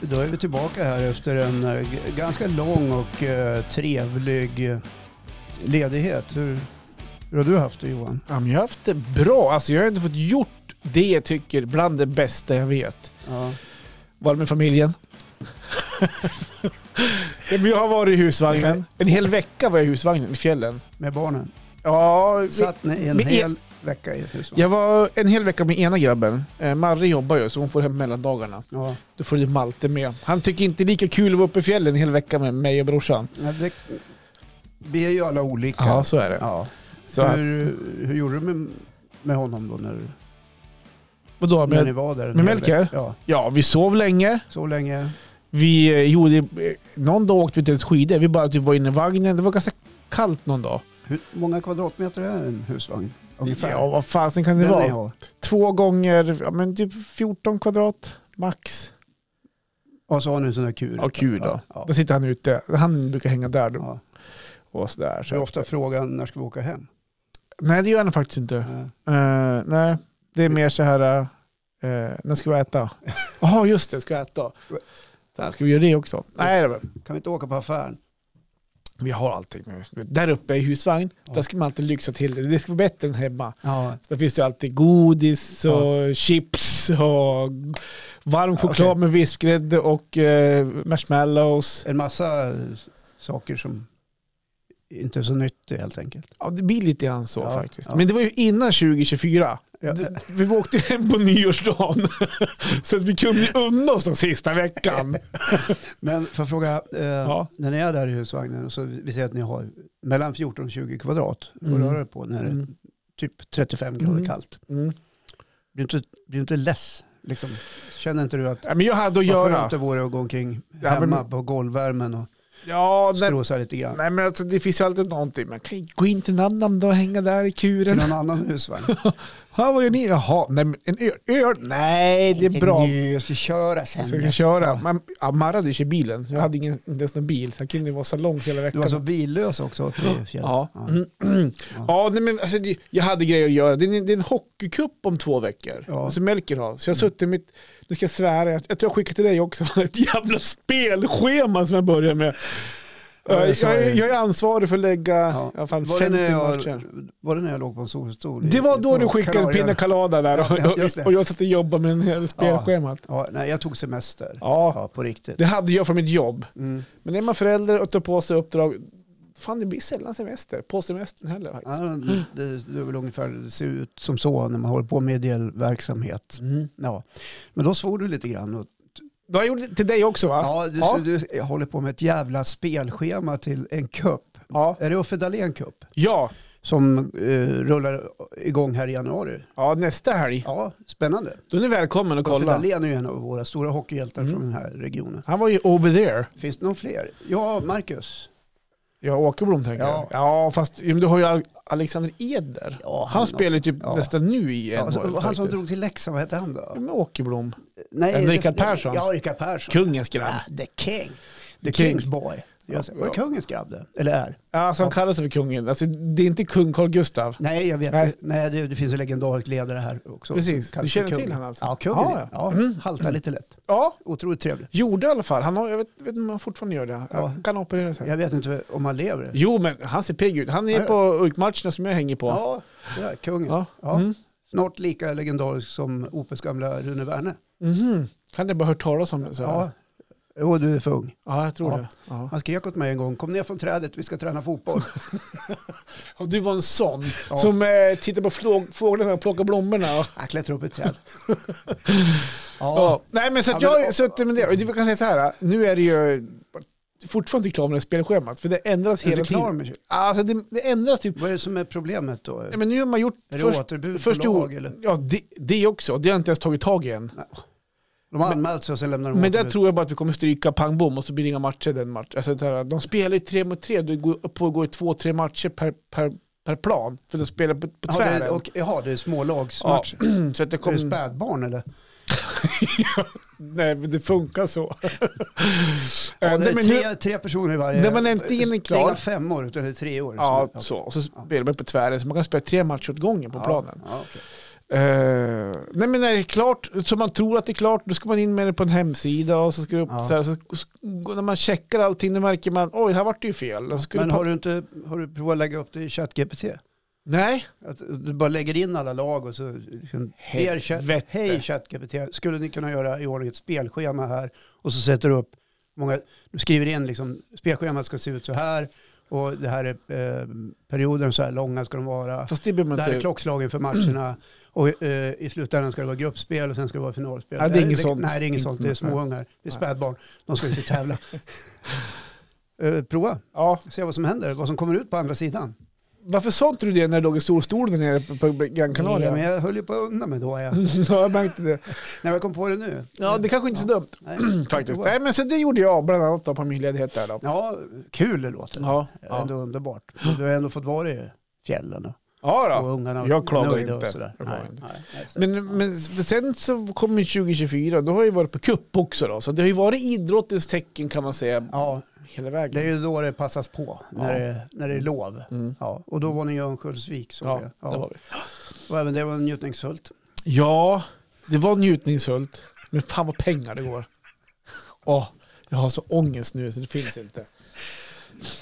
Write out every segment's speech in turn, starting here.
Då är vi tillbaka här efter en eh, g- ganska lång och eh, trevlig eh, ledighet. Hur, hur har du haft det Johan? Ja, men jag har haft det bra. Alltså, jag har inte fått gjort det jag tycker bland det bästa jag vet. Ja. Var med familjen. Ja, men jag har varit i husvagnen. En hel vecka var jag i husvagnen i fjällen. Med barnen? Ja, vi- Satt ni en men är- hel vecka i huset? jag var en hel vecka med ena grabben. Eh, Marre jobbar ju så hon får hem mellandagarna. Ja. Då får lite Malte med. Han tycker inte lika kul att vara uppe i fjällen en hel vecka med mig och brorsan. Nej, det, vi är ju alla olika. Ja, så är det. Ja. Så att, hur, hur gjorde du med, med honom då när, vadå, när ni men, var där? en med hel Melker? vecka? Ja, ja, vi sov länge. så länge. Vi eh, gjorde... eh, Någon dag åkte vi till ett skidor. Vi bara typ var inne i vagnen. Det var ganska kallt någon dag. Hur många kvadratmeter är en husvagn? Ungefär. Ja, vad fasen kan det Den vara? ni har. Två gånger, ja men typ 14 kvadrat max. Och så har ni en sån där kur. Ja, kul då. Ja. Där sitter han ute. Han brukar hänga där då. Ja. och sådär. Så jag Så. ofta frågan när ska vi åka hem? Nej, det gör han faktiskt inte. Eh, Eh, nej, det är mer så här, eh, när ska vi äta? Jaha, just det, ska vi äta? Där, ska vi göra det också? Nej, det var, Kan vi inte åka på affären? vi har allting. nu. Där uppe i husvagn, Ja. där ska man alltid lyxa till det. Det ska vara bättre än hemma. Ja. Där finns det ju alltid godis och chips och varm okej. choklad med vispgrädde och eh, marshmallows. En massa eh, saker som inte är så nyttigt helt enkelt. Ja, det blir lite grann så Ja, faktiskt. ja. Men det var ju innan 2024. Ja. Det- Vi åkte hem på nyårsdagen. så att vi kunde ju unna oss den sista veckan. Men får jag fråga, eh, Ja. när ni är där i husvagnen, så vi vi säger att ni har mellan 14 och 20 kvadrat att Mm. röra er på när det är Mm. typ 35 grader Mm. kallt. Mm. Blir du inte, blir du inte less? Liksom, känner inte du att Ja, men jag hade att vad skönt göra. det vore att gå omkring Ja, hemma men- på golvvärmen och Ja, nej, stråsa lite grann? nej, men alltså, det finns ju alltid någonting. Man kan ju gå in till en annan dag och hänga där i Till kuren. någon annan husvagn? Ja, vad gör ni? Jaha, nej, men en öl? öl? Nej, det är bra. Nu, jag ska köra sen. Så jag kan köra. Man, ja, Marra hade ju kört bilen. Jag hade ingen, inte ens någon bil. Så jag kunde ju vara så långt hela Du veckan. var så billös också uppe i fjällen. Ja. Mm. ja, nej, men alltså, det- jag hade grejer att göra. Det är en, det är en hockeycup om två veckor. Ja. Som Melker har. Så jag har suttit mitt, nu ska jag svära, jag, jag tror jag skickade till dig också, ett jävla spelschema som jag började med. Ja, jag jag, sa jag, ju- är ansvarig för att lägga Ja. ja. fan, Var det, 50 när jag, matcher. var det när jag låg på en solstol? i- Det var då på du skickade Kanarien? Pina Colada där Ja, och, just det. och, jag satt och jobbade med en hel spelschemat. Ja. Ja, nej, jag tog semester. Ja, på riktigt. det hade jag från mitt jobb. Mm. Men är man förälder och tar på sig uppdrag, fan det blir sällan semester, på semestern heller Ja, faktiskt. det, det är väl ungefär, det ser ut som så när man håller på med ideell verksamhet. Mm. Ja. Men då svor du lite grann. Och, Då har jag gjort det till dig också va? ja, du, Ja. du jag håller på med ett jävla spelschema till en cup. Ja. Är det Uffe Dahlén Cup? Ja, Som eh, rullar igång här i januari. ja nästa helg. Ja, spännande. Då är ni välkommen och Uffe kolla. Mm. Dahlén är ju en av våra stora hockeyhjältar från den här regionen. Han var ju over there. Finns det någon fler? Ja, Marcus. Ja, Åkerblom tänker Ja. ja. jag. Ja, fast ja, men du har ju Al- Alexander Eder. Ja, Han spelar ju typ Ja. nästan nu i Ja, NHL. så- Alltså, han som faktiskt. drog till Leksand, vad hette han Ja, då? men Åkerblom. Nej, Eh, det- Mm. Rickard det- Persson. Ja, Rickard Persson. Kungens grabb. Ah, the King. The King. Kings boy. Jag säger, var det kungens grabb det? Eller är? Ja, alltså, han kallas för kungen. Alltså, det är inte kung Carl Gustav. Nej, jag vet Nej. inte. Nej, det, det finns en legendarisk ledare här också. Precis. Kallas för Du känner kungen. till han alltså? Ja, kungen. Ja, Ja, ja. Mm. haltar lite lätt. Ja, Otroligt trevlig. gjorde i alla fall. Han har, jag vet vet inte om han fortfarande gör det. Ja. Han kan operera sig. Jag vet inte om han lever. Jo, men han ser pigg ut. Han är Ja, ja. på UIK-matcherna som jag hänger på. Ja, det är kungen. Ja. Ja. Mm. Snart lika legendarisk som OPs gamla Rune Werne. Mhm. Han hade bara hört talas om det. Så. Ja. Ja. Jo, du är för ung. ja, jag tror Ja. det. Ja. Han skrek åt mig en gång, kom ner från trädet, vi ska träna fotboll. Och du var en sån Ja. som eh, tittar på flå- fåglarna och plockar blommorna. Och, Han klättrade upp i ett träd. ja. Ja, Nej men så att Ja, men- jag har suttit med det. Och jag kan säga så här, nu är det ju fortfarande inte klar med det här spelschemat för det ändras är hela du klar tiden. med Alltså det, det ändras typ. Vad är det som är problemet då? Nej, men nu har man gjort är det först, återbud först på i lag? år. Eller? Ja det, det också, det har jag inte ens tagit tag i än. De har anmält sig och sen lämnar de Men där återbud. tror jag bara att vi kommer stryka pang bom och så blir det inga matcher den matchen. Alltså, så här, de spelar ju tre mot tre, det går, pågår ju två, tre matcher per, per, per plan. För de spelar på, på Ja, det, tvären. är- och, jaha, det är smålagsmatcher. så att det Är det kommer... spädbarn eller? Nej men det funkar så. Ja, Eh, det nej, är men nu- tre, tre personer i varje. När man äntligen är klar- Det är inga femmor utan det är treor. Ja, som- så. Och så spelar man på tvären, så man kan spela tre matcher åt gången på Ja, planen. Ja, okej. Eh, nej men när det är klart, som man tror att det är klart, då ska man in med det på en hemsida och så ska det upp Ja. så här. Så, och när man checkar allting, då märker man oj, här vart det ju fel. Och så ska Men det pa- har du inte har du provat att lägga upp det i ChatGPT? Nej, Att du bara lägger in alla lag och så... Liksom, er chat, Helvete. hej ChatGPT, skulle ni kunna göra i ordning ett spelschema här? Och så sätter du upp många... Du skriver in liksom, spelschemat ska se ut så här och det här är eh, perioden, så här långa ska de vara. fast det behöver Det man här är inte. klockslagen för matcherna och eh, i slutändan ska det vara gruppspel och sen ska det vara finalspel. Ja, det är inget sånt. Mm, Nej, det är inget sånt. Det är småungar. Det är Nej. spädbarn. De ska inte tävla. Eh, prova, Ja. se vad som händer, vad som kommer ut på andra sidan. Varför sa inte du det när det låg i solstol där nere på- på Gran Canaria? Nej, men jag höll ju på att undra mig då. Jag, ja, jag märkte det. när jag kom på det nu. Ja, det kanske inte är så dumt Nej, faktiskt. prova. Nej, men så det gjorde jag bland annat då, på min ledighet där då. Ja, kul det låter. Ja, ja. Ändå underbart. Du har ändå fått vara i fjällen och, ja och då. ungarna Jag klagar nöjda inte. och sådär. Jag klagar Nej, inte. nej, nej, så- Men, men sen så kom ju 2024, då har jag ju varit på cup också då. Så det har ju varit idrottens tecken kan man säga ja, hela det är vägen. ju då det passas på, när, det, när det är lov. Mm. Ja, och då var ni i Örnsköldsvik. såg Ja, jag. där var vi. Och även det var njutningsfullt. Ja, det var njutningsfullt. Men fan vad pengar det går. Åh, jag har så ångest nu så det finns inte.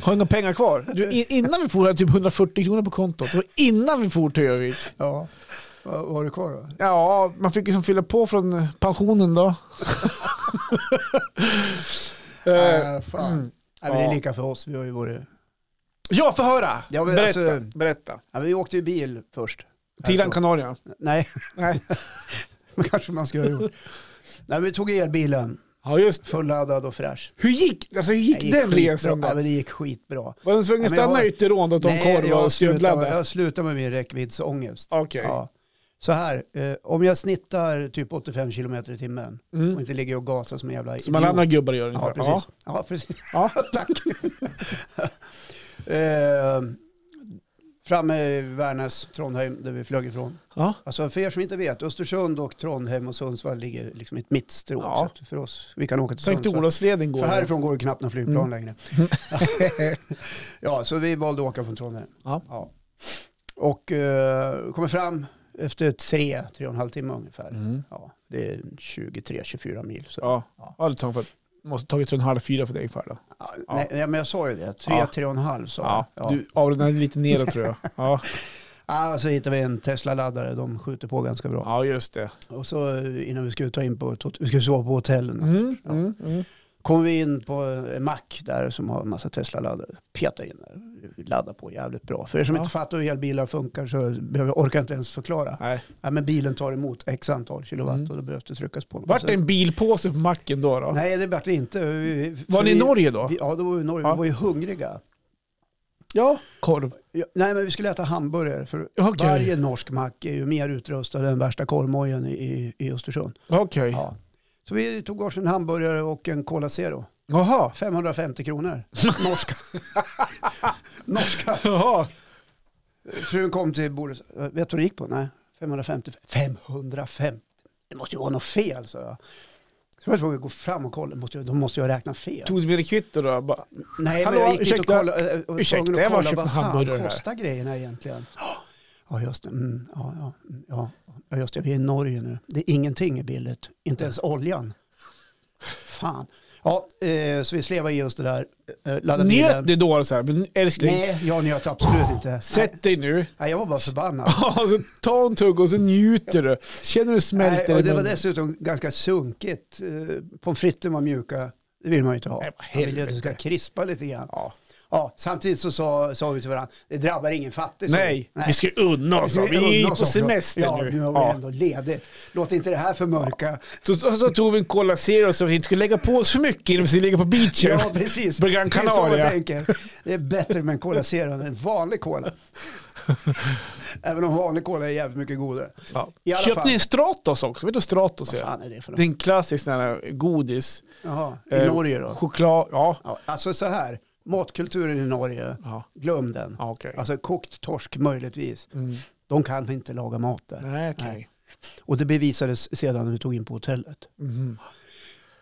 Har inga pengar kvar. Du, i- innan vi for hade jag typ 140 kronor på kontot. Det var innan vi for till Övik. Ja. Vad vad har du kvar då? Ja, man fick ju som fylla på från pensionen då. Eh, Äh, fan. mm. Nej, men det är ja. lika för oss. Vi, har ju varit... ja, få höra! Ja, men berätta, alltså- berätta. ja, vi åkte ju bil först. Till Gran Härifrån. Canaria. Nej, Nej. men kanske man skulle ha gjort. Nej, vi tog elbilen, Ja, just fulladdad och fräsch. Hur gick, alltså, hur gick, Det den skitbra. resan? då? Ja, men det gick skitbra. Var den tvungen Ja, att men jag stanna har- i ytterrån och ta en korv jag och slutade med, stjudladda? jag slutade med min räckviddsångest. Okej. Ja. Så här, eh, om jag snittar typ 85 kilometer i timmen Mm. och inte ligger och gasar som en jävla Som alla andra gubbar gör ungefär. Ja, precis. Ja, precis. Ja. Tack. eh, framme i Värnäs, Trondheim, där vi flög ifrån. Ja. Alltså för er som inte vet, Östersund och Trondheim och Sundsvall ligger liksom i ett mittstråk. Ja. Så att för oss, vi kan åka till Sankt Sundsvall. Olofsleden går. För härifrån går det knappt några flygplan Mm. längre. ja, så vi valde att åka från Trondheim. Ja. Och eh, kommer fram efter tre, tre och en halv timme ungefär. Mm. Ja, det är 23-24 mil. Så. Ja. Ja. Ja, det tar för, måste tagit tre och en halv fyra för dig ungefär då. Ja, Ja. Nej, nej, men jag sa ju det. Tre, Ja. tre och en halv sa Ja. jag. Ja. Du avrundade lite neråt tror jag. Ja, Ah, så hittade vi en Tesla-laddare. De skjuter på ganska bra. ja just det. Och så eh, innan vi skulle ta in på ett hot- vi skulle sova på hotellen. Mm. Mm. Mm. Kom vi in på en mack där som har en massa Tesla-laddare. Peta in där. Ladda på jävligt bra. För er som Ja. inte fattar hur elbilar funkar så behöver, orkar jag inte ens förklara. Nej. Ja, men bilen tar emot x antal kilowatt Mm. och då behövs det tryckas på. Vart det en bilpåse på macken då? då? Nej, det vart det inte. Vi- vi- Var för ni i vi- Norge då? Vi, ja, då var vi i Norge. Ja. Vi var ju hungriga. Ja. Korv. Ja, nej, men vi skulle äta hamburgare. För Okej. Varje norsk mack är ju mer utrustad än värsta korvmojen i- i, i Östersund. Okej. Ja. Så vi tog varsin hamburgare och en Cola Zero. Jaha. 550 kronor. Norska. Norska. Jaha. Frun kom till bordet. Vet du vad det gick på? Nej. 550. 550. Det måste ju vara något fel, sa jag. Så jag var tvungen att gå fram och kolla. Måste jag, då måste jag räkna fel. Tog du med dig kvitto då? Bara, Nej, Hallå, men jag gick dit och ursäkta. kollade. eh, och var Ursäkta, tvungen att jag var och kolla, köpte vad fan hamburgare här. kostar grejerna egentligen? Ja, just det. Mm, ja, ja, mm, ja, ja, just det. Vi är i Norge nu. Det är ingenting är billigt. Inte ens oljan. Fan. Ja, eh, så vi slevade i oss det där. Eh, laddade bilen. njöt det då så här? Men älskling, Nej, jag njöt absolut inte. Nej, sätt dig nu. nej, jag var bara förbannad. Alltså, ta en tugg och så njuter du. Känner du smälter Nej, i och det var munnen. dessutom ganska sunkigt. Eh, Pommes fritesen var mjuka. Det vill man ju inte ha. Nej, vad Man vill ju att det ska helvete. krispa lite grann. Ja. Ja, samtidigt så sa, sa vi till varandra, det drabbar ingen fattig. sa vi. Nej, vi ska unna oss. Vi va? Vi är ju unnar på oss också. semester ja, nu. nu har vi Ja. ändå ledigt. Låt inte det här förmörka. Så, så, så tog vi en Cola Zero så vi inte skulle lägga på oss för mycket innan vi skulle ligga på beachen. Ja, precis. På Gran Det är så jag Canaria. tänker. Det är bättre med en Cola Zero än en vanlig Cola. Även om vanlig Cola är jävligt mycket godare. Ja. I alla Köpte fall. ni en Stratos också? Vet du vad Stratos Vad är? fan är det för Det är något? en klassisk sån här godis. Jaha, i Eh, Norge då? Choklad, ja. Ja, alltså så här, matkulturen i Norge, Ja, glöm den. ja okej. Alltså kokt torsk möjligtvis. Mm. De kan inte laga mat där. Nej, okej. Nej. Och det bevisades sedan när vi tog in på hotellet. Mhm.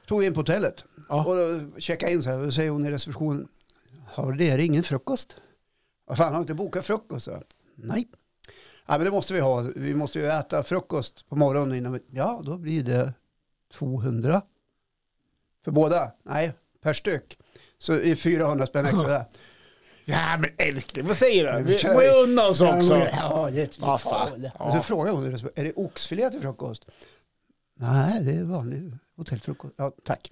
Tog in på hotellet Ja. och då checkade in så här. Och då säger hon i receptionen, har det är ingen frukost? Vad fan, har du inte bokat frukost? Så, jag, Nej. men det måste vi ha. Vi måste ju äta frukost på morgonen innan vi... Ja, då blir det 200. För båda? Nej, per styck. Så är 400 spänn extra där. Ja men älskling, vad säger du? Men vi Vi kör går ju ju. undan oss också. Ja, det är ett Vad fan. vitalt. Ja. Och så frågar hon, är det oxfilé till frukost? Nej, det är vanlig hotellfrukost. Ja, tack.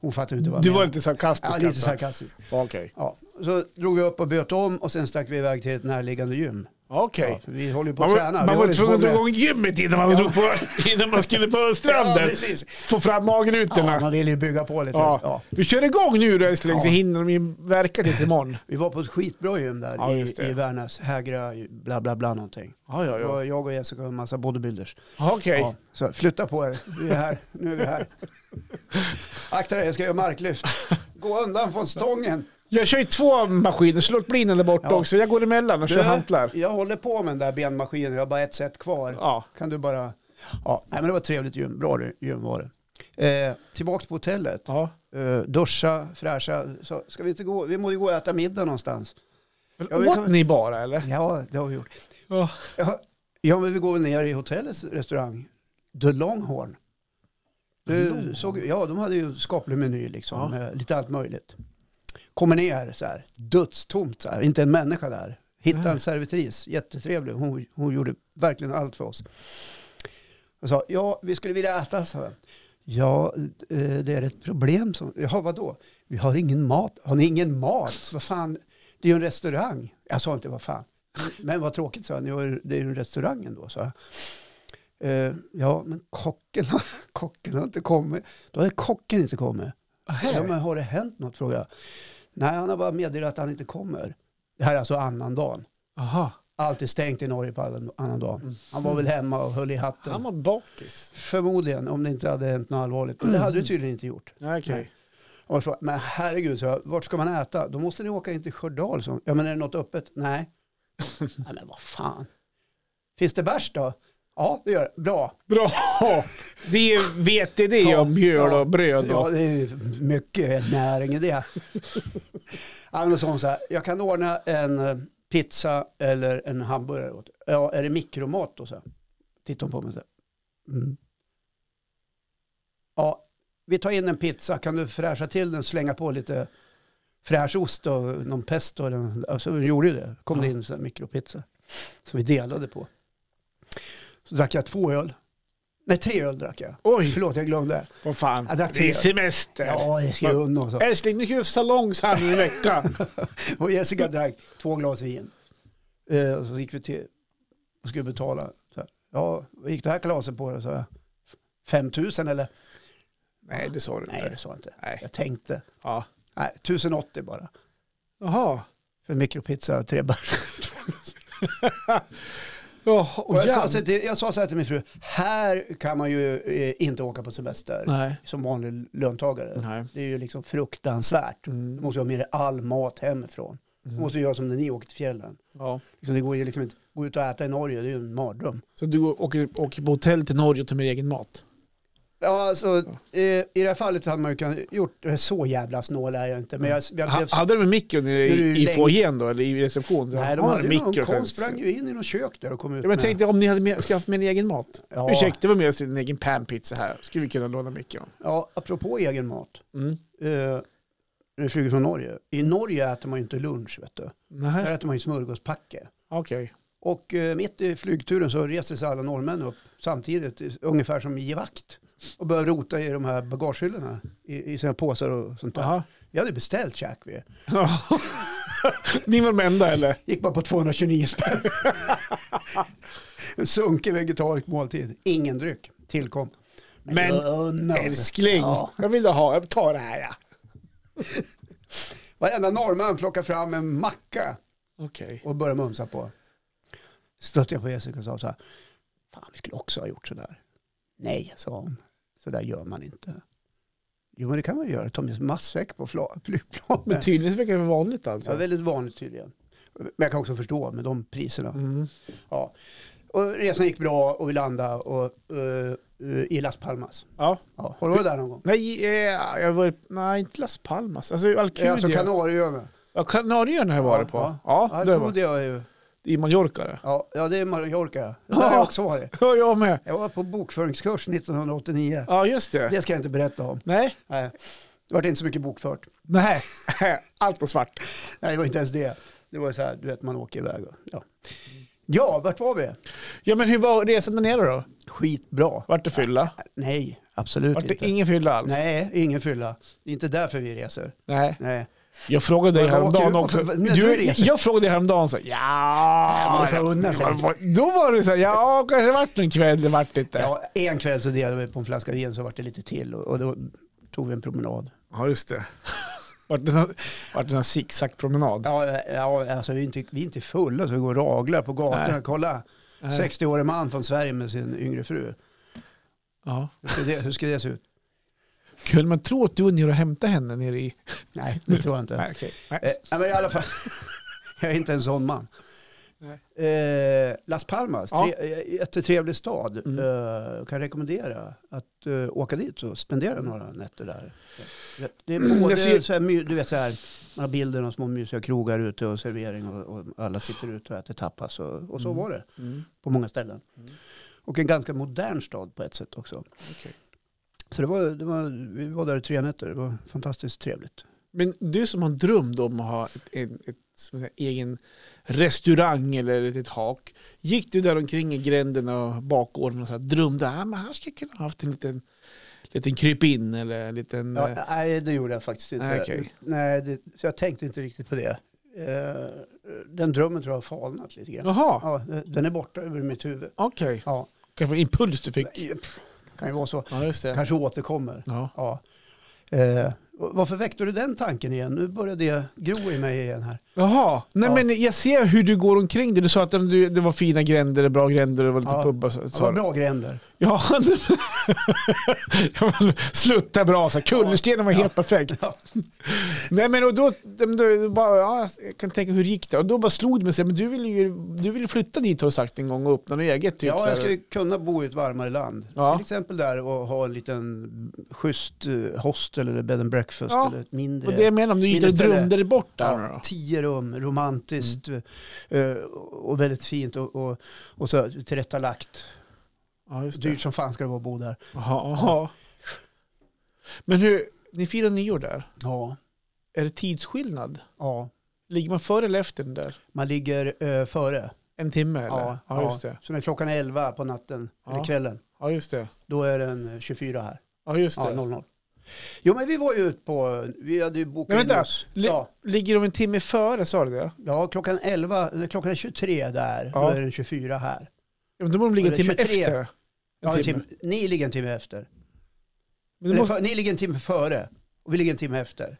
Hon fattar ju inte vad jag Du var menar. lite sarkastisk. Ja, lite alltså. sarkastisk. Okej. Ja, så drog vi upp och böt om och sen stack vi iväg till ett närliggande gym. Okej. Ja, för vi håller ju på Man, att var- träna. man Vi var håller ju på tvungen att dra med- igång gymmet innan man, drog på, innan man skulle på Ja, stranden. precis. Få fram magrutorna. Ja, Ja, man vill ju bygga på lite. Ja. Vi kör igång nu då älskling så Ja. hinner de ju verka tills imorgon. Vi var på ett skitbra gym där Ja, i, just det. i Värnäs, Hägra, bla bla bla någonting. Ja, ja, Det ja. var Jag och Jessica och en massa bodybuilders. Okej. Ja, så flytta på er, vi är här, nu är vi här. Akta dig, jag ska göra marklyft. Gå undan från stången. Jag kör ju två maskiner, så låt bli den där borta Ja. också. Jag går emellan och kör hantlar. jag håller på med den där benmaskinen, jag har bara ett set kvar. Ja. Kan du bara... Ja, nej, men det var ett trevligt gym, bra gym var det. Eh, tillbaka på hotellet. ja. Eh, duscha, fräscha. Så ska vi inte gå? Vi måste ju gå och äta middag någonstans. Men Ja, vi åt kan- ni bara eller? Ja, det har vi gjort. Ja. Ja, ja men vi går väl ner i hotellets restaurang. The Longhorn. Du Longhorn? såg, ja, de hade ju en skaplig meny liksom. Ja. Med lite allt möjligt. Kommer ner så här, dödstomt så här. Inte en människa där. Hittade Nej. en servitris, jättetrevlig. Hon, hon gjorde verkligen allt för oss. Jag sa, ja, vi skulle vilja äta, så Ja, eh, det är ett problem. Som, jaha, vadå? Vi har ingen mat. Har ni ingen mat? Vad fan? Det är ju en restaurang. Jag sa inte vad fan. Men vad tråkigt, sa han. Jag är- Det är ju en restaurang ändå, sa jag. Eh, ja, men kocken, har- kocken har inte kommit. Då har kocken inte kommit. Ja, men har det hänt något, frågade jag. Nej, han har bara meddelat att han inte kommer. Det här är alltså annan dagen. Aha. Allt är stängt i Norge på annan- annan dagen. Han var väl hemma och höll i hatten. Mm. Han var bakis. Förmodligen, om det inte hade hänt något allvarligt. Men det hade det tydligen inte gjort. Okej. Nej. Och jag frågade, men herregud, så jag, vart ska man äta? Då måste ni åka in till Skördal. Så. Ja, men är det något öppet? Nej. Nej, men vad fan. Finns det bärs då? Ja, det gör det. Bra. Bra! Det är VTD Ja, och mjöl ja. och bröd. Ja, Och. det är ju mycket näring i det. Ja, men så hon så här, jag kan ordna en eh, pizza eller en hamburgare åt er. Ja, är det mikromat då? Så här. Tittar hon på mig så här. Mm. Ja, vi tar in en pizza. Kan du fräscha till den? Slänga på lite fräsch ost och någon pesto. Eller, någon- alltså, vi gjorde ju det. kom det in en mikropizza som vi delade på. Så drack jag två öl. Nej, tre öl drack jag. Oj, Förlåt, jag glömde. vad fan. Jag drack Det är te. semester. Ja, det ska jag unna oss. Älskling, nu ska vi salongs här i veckan. Och Jessica drack två glas vin. Eh, och så gick vi till och skulle betala. Så här, ja, vad gick det här kalaset på? då?" Så här, 5 000 eller? Nej, det sa du Nej, det inte. sa jag inte. Nej. Jag tänkte. Ja. Nej, 1080 bara. Jaha. För en mikropizza och tre bärs. Jaha, Och jag, sa jävlar. så till, jag sa så här till min fru. Här kan man ju eh, inte åka på semester Nej. som vanlig löntagare. Nej. Mm. Det är ju liksom fruktansvärt. Du måste ju ha med dig all mat hemifrån. Du måste ju göra som när ni åker till fjällen. Ja. Liksom, det går ju liksom inte, gå ut och äta i Norge, det är ju en mardröm. Så du går- åker, åker på hotell till Norge och tar med egen mat? Ja, alltså, eh, i det här fallet hade man ju kunnat gjort, så jävla snål är jag inte, men jag, jag Ha, blev... hade de mikron i, är det ju i, i länge- foajén då, eller i receptionen? nej, de Ja, hade ju någon, mikro kom finns. sprang ju in i något kök där och kom ut Ja, men jag tänkte om ni hade med, skaffat med en egen mat. ja, Ursäkta, var med oss din egen panpizza här. Skulle vi kunna låna mikron? ja, apropå egen mat, Mm. eh, nu flyger från Norge. I Norge äter man ju inte lunch, vet du. Där Nej, äter man ju smörgåspacke. okej. Och eh, mitt i flygturen så reser sig alla norrmän upp samtidigt, eh, ungefär som i vakt. Och börjar rota i de här bagagehyllorna, i, i sina påsar och sånt där. Jaha. Vi hade beställt käk vi. Ja. Ni var de enda eller? Gick bara på 229 spänn. en sunkig vegetarisk måltid. Ingen dryck tillkom. Men jag unnar mig. Älskling, Ja. jag vill ha, jag tar det här ja. Varenda norrman plockar fram en macka Okej. och börjar mumsa på. Stötte jag på Jessica och sa så här. Fan, vi skulle också ha gjort så där. Nej, sa hon. Så där gör man inte. Jo, men det kan man ju göra. Ta med sig matsäck på fla- Men flygplanet. tydligen så verkar det vara vanligt alltså. Ja, väldigt vanligt tydligen. Men jag kan också förstå med de priserna. Mm. Ja. Och resan gick bra och vi landade och, eh, eh, i Las Palmas. Ja. Ja. Har du varit där någon gång? Nej, eh, jag var, nej, inte Las Palmas. Alltså Alcudia. Alltså Kanarieöarna. ja, Kanarieöarna har jag varit på. Ja, jag det har jag trodde varit. jag ju. i Mallorca. det. Ja, ja det är Mallorca. Där har jag också varit. Ja, jag med. Jag var på bokföringskurs 1989. Ja, just det. Det ska jag inte berätta om. Nej, Nej. Det vart inte så mycket bokfört. nej. Allt var svart. Nej, det var inte ens det. Det var så här, du vet, man åker iväg. Och, ja. ja, vart var vi? Ja, men hur var resan där nere då? Skitbra. Vart det fylla? Nej, absolut Vart det inte. ingen fylla alls? Nej, ingen fylla. Det är inte därför vi reser. Nej. Nej. Jag frågade dig Men vad åker häromdagen du på också. för- när du Du, reser? jag frågade dig häromdagen så här, men ja, man får unna sig. Då var det så här, ja, kanske vart det en kväll, det vart inte. Ja, Ja, en kväll så delade vi på en flaska vin så vart det lite till och, och då tog vi en promenad. just det. Vart det en vart det en zigzag-promenad? Ja, ja alltså vi är, inte, vi är inte fulla så vi går och raglar på gatorna. Nej. Kolla, Nej. 60-årig man från Sverige med sin yngre fru. Ja. Hur ska det, hur ska det se ut? Kunde man tro att du var nere och hämtade henne nere i... Nej, det tror jag inte. Nej, okej. Nej. Eh, nej, men i alla fall, jag är inte en sån man. Eh, Las Palmas, Ja. tre, eh, jättetrevlig stad. Mm. Eh, kan rekommendera att eh, åka dit och spendera några nätter där. Det- Det är både jag ser- så här, my- du vet så här, man har bilden av små mysiga krogar ute och servering och, och alla sitter ute och äter tapas och, och så Mm. var det Mm. på många ställen. Mm. Och en ganska modern stad på ett sätt också. Okej. Så det var, det var, vi var där i tre nätter, det var fantastiskt trevligt. Men du som har en dröm då om att ha ett, en, ett, som en egen restaurang eller ett, ett hak. Gick du där omkring i gränden och bakgården och så här, drömde att men här ska jag kunna ha haft en liten, liten krypin eller en liten... eh, Ja, nej, det gjorde jag faktiskt inte. Nej, okej. Nej, det, så jag tänkte inte riktigt på det. Eh, Den drömmen tror jag har falnat lite grann. Jaha, Ja, den är borta över mitt huvud. okej. Ja, Kanske en impuls du fick. kan ju vara så. Ja, just det. Kanske återkommer. Ja. Ja. Eh, Varför väckte du den tanken igen? Nu börjar det gro i mig igen här. Jaha, nej Ja. men jag ser hur du går omkring det. Du sa att du- det var fina gränder, bra gränder och var lite Ja. pubbar. Så, Det så. var bra gränder. Ja, nej, men- slutta bra. Så här, kullerstenen var Ja. helt perfekt. Ja. Nej men och då, de- de- bara, ja, jag kan tänka hur gick det? Och då bara slog det mig, så här, men du vill ju du vill flytta dit har du sagt en gång och öppna något eget. Typ, ja, så här. jag skulle kunna bo i ett varmare land. Ja. Till exempel där och ha en liten schysst eh, hostel eller bed and breakfast. Ja. Eller ett mindre. och det jag menar om du gick där och Minnes det? drömde dig bort där nu Ja, då? tio rum, romantiskt Mm. eh, och väldigt fint och, och, och så tillrättalagt. Ja, just det. Dyrt som fan ska det vara att bo där. Jaha, jaha. Men hur, ni firar nyår där. Ja, Är det tidsskillnad? ja. Ligger man före eller efter den där? man ligger eh, före. En timme eller? Ja, ja, just det. Så när klockan är 11 på natten eller Ja. kvällen, Ja, just det. då är den eh, 24 här. Ja, just Ja, det. 00. Jo, men vi var ju ute på, vi hade ju bokat Men vänta, in oss. li- Ja, Ligger de en timme före, sa du det? ja, klockan 11, eller klockan är 23 där, då Ja. är den 24 här. Ja, men då borde de ligga en Eller timme 23. efter. En Ja, en timme. timme. Ni ligger en timme efter. Men det Eller, måste, för, ni ligger en timme före och vi ligger en timme efter.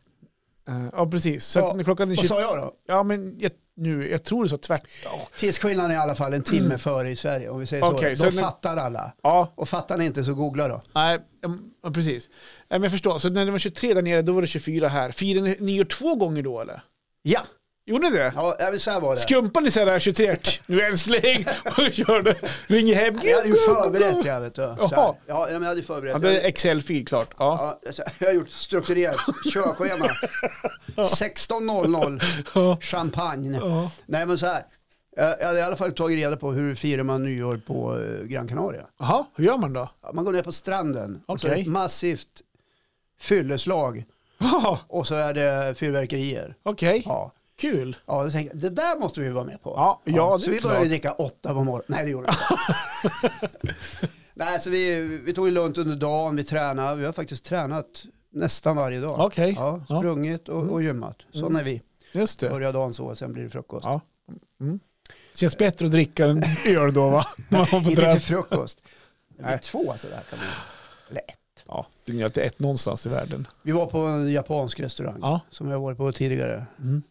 eh, ja, precis. Så Ja, att när klockan är Vad 20, sa jag då? Ja, men jag, nu, jag tror det så tvärt. Ja. Tidsskillnaden är i alla fall en timme före i Sverige. Om vi säger Mm. Okej, så. så Då nu- fattar alla. Ja, Och fattar ni inte så googla då. nej, mm, ja, precis. Nej, men jag förstår. Så när det var 23 där nere, då var det 24 här. Firade ni nyår två gånger då, eller? Ja, Gjorde ni det? ja men så här var det. Skumpade ni så här 23? Nu älskling! Och körde. Ringer hem. Jag hade ju förberett jag vet du. Så Jaha. här. Ja, men jag hade ju Ja, förberett. det är Excel-fil klart. Ja. Ja, så här, jag har gjort strukturerat körschema. 16.00 Ja. champagne. Ja. Nej men så här. Jag jag hade i alla fall tagit reda på hur firar man nyår på eh, Gran Canaria. Jaha, hur gör man då? Ja, Man går ner på stranden. Och så är det Okej. ett massivt fylleslag. Ja, Och så är det fyrverkerier. Okej, Ja. kul. Ja, då tänkte jag, det där måste vi vara med på. Ja, ja, det är så vi klart. började ju dricka åtta på morgonen. Nej, det gjorde vi inte. Nej, så vi, vi tog det lugnt under dagen, vi tränade. Vi har faktiskt tränat nästan varje dag. Okej, Ja, Ja. Mm. sprungit och, och gymmat. Så när vi just det. börjar dagen så, sen blir det frukost. Ja. Mm. Känns bättre att dricka en öl då, va? När man får Inte träna. till frukost. Det blir Nej. två sådär kan man Eller ett. Ja, det är ju alltid ett någonstans i världen. Vi var på en japansk restaurang Ja, som jag varit på tidigare. mm.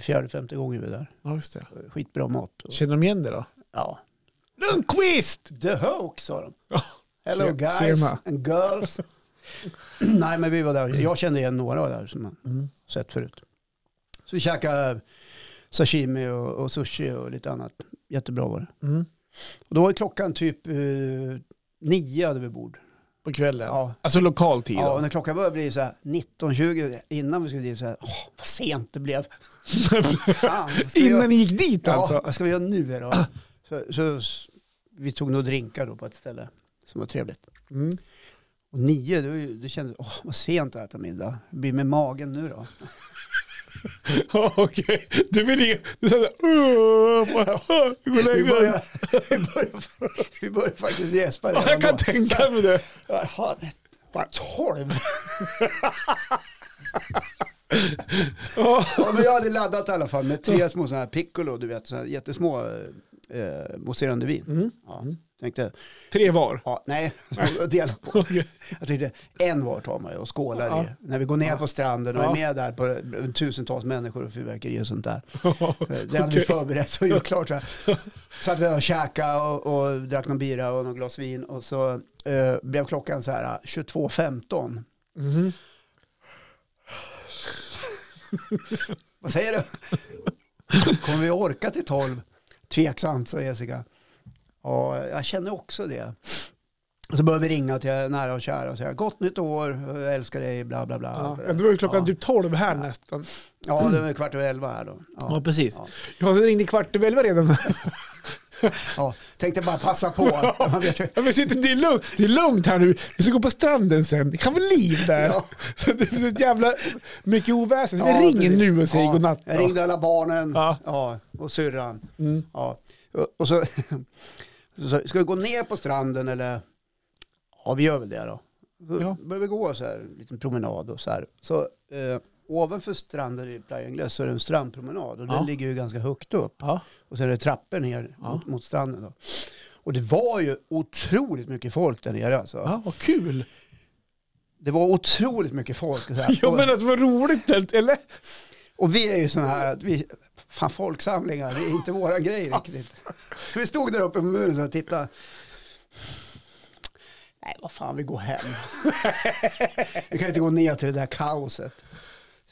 Fjärde, femte gången vi var ja just det. där. Skitbra mat. Och, Känner de igen det då? ja. Lundqvist! The Hoax sa de. Ja. Hello Tje- guys tjena. and girls. Nej men vi var där, jag kände igen några där som man Mm. sett förut. Så vi käkade sashimi och, och sushi och lite annat. Jättebra var det. Mm. Och då var ju klockan typ eh, nio hade vi bord. på kvällen. Ja. Alltså lokal tid. Ja, och då. när klockan började bli så här 19.20 innan vi skulle dit så här, åh, vad sent det blev. Fan, vad ska vi göra? Innan ni gick dit Ja, alltså? vad ska vi göra nu då? Så, så, s- vi tog nog drinkar då på ett ställe som var trevligt. Mm. Och nio, då, då kände jag, åh, vad sent att äta middag. Hur blir det med magen nu då? Ja, Okej, du vill inga... Du sa såhär... Gå och Vi lägg dig. börjar, vi börjar, vi börjar faktiskt gäspa Ja, Jag kan tänka mig det. Ja, fan, Bara tolv. Ja. Ja, men jag hade laddat i alla fall med tre små sådana här piccolo, du vet, såna här jättesmå eh, mousserande vin. Mm. Ja, tänkte, Tre var. ja, nej, jag delar på. Okej. Jag tänkte, en var tar man ju och skålar Ja. i. När vi går ner på stranden och Ja. är med där på tusentals människor och fyrverkeri och sånt där. Det hade vi Okej. förberett och gjort klart. Så, här. så att vi och käkade och, och drack någon bira och någon glas vin och så eh, blev klockan så här 22.15. Mhm. Vad säger du? Kommer vi orka till 12? Tveksamt, sa Jessica. Ja, jag känner också det. Och så började vi ringa till nära och kära och säga gott nytt år, jag älskar dig, bla bla bla. Ja, det var ju klockan ja. typ tolv här nästan. Ja, det var kvart över elva här då. Ja. precis. Ja. Jag ringde kvart över elva redan. Ja. Tänkte bara passa på. Man vet ju. Ja, men sitter, det, är lugnt, det är lugnt här nu. Vi ska gå på stranden sen. Det kan vara liv där. Ja. Så det är så jävla mycket oväsen. Så Ja, vi ringer precis. nu och säger ja. godnatt. Jag ringde alla barnen Ja. ja. och syrran. Mm. Ja. Och- Och så, så sa jag, ska vi gå ner på stranden eller? Ja, vi gör väl det då. Så Ja. började vi gå så här, en liten promenad och så här. Så eh, ovanför stranden i Playa Inglés så är det en strandpromenad och Ja. den ligger ju ganska högt upp. Ja. Och sen är det trappor ner Ja. mot, mot stranden då. Och det var ju otroligt mycket folk där nere alltså. ja, vad kul. Det var otroligt mycket folk. Så här. Ja, men alltså vad roligt. helt- Eller? Och vi är ju sådana här, att vi, fan folksamlingar, det är inte våra grej riktigt. Så vi stod där uppe på muren och tittade. Nej, vad fan, vi går hem. vi kan inte gå ner till det där kaoset.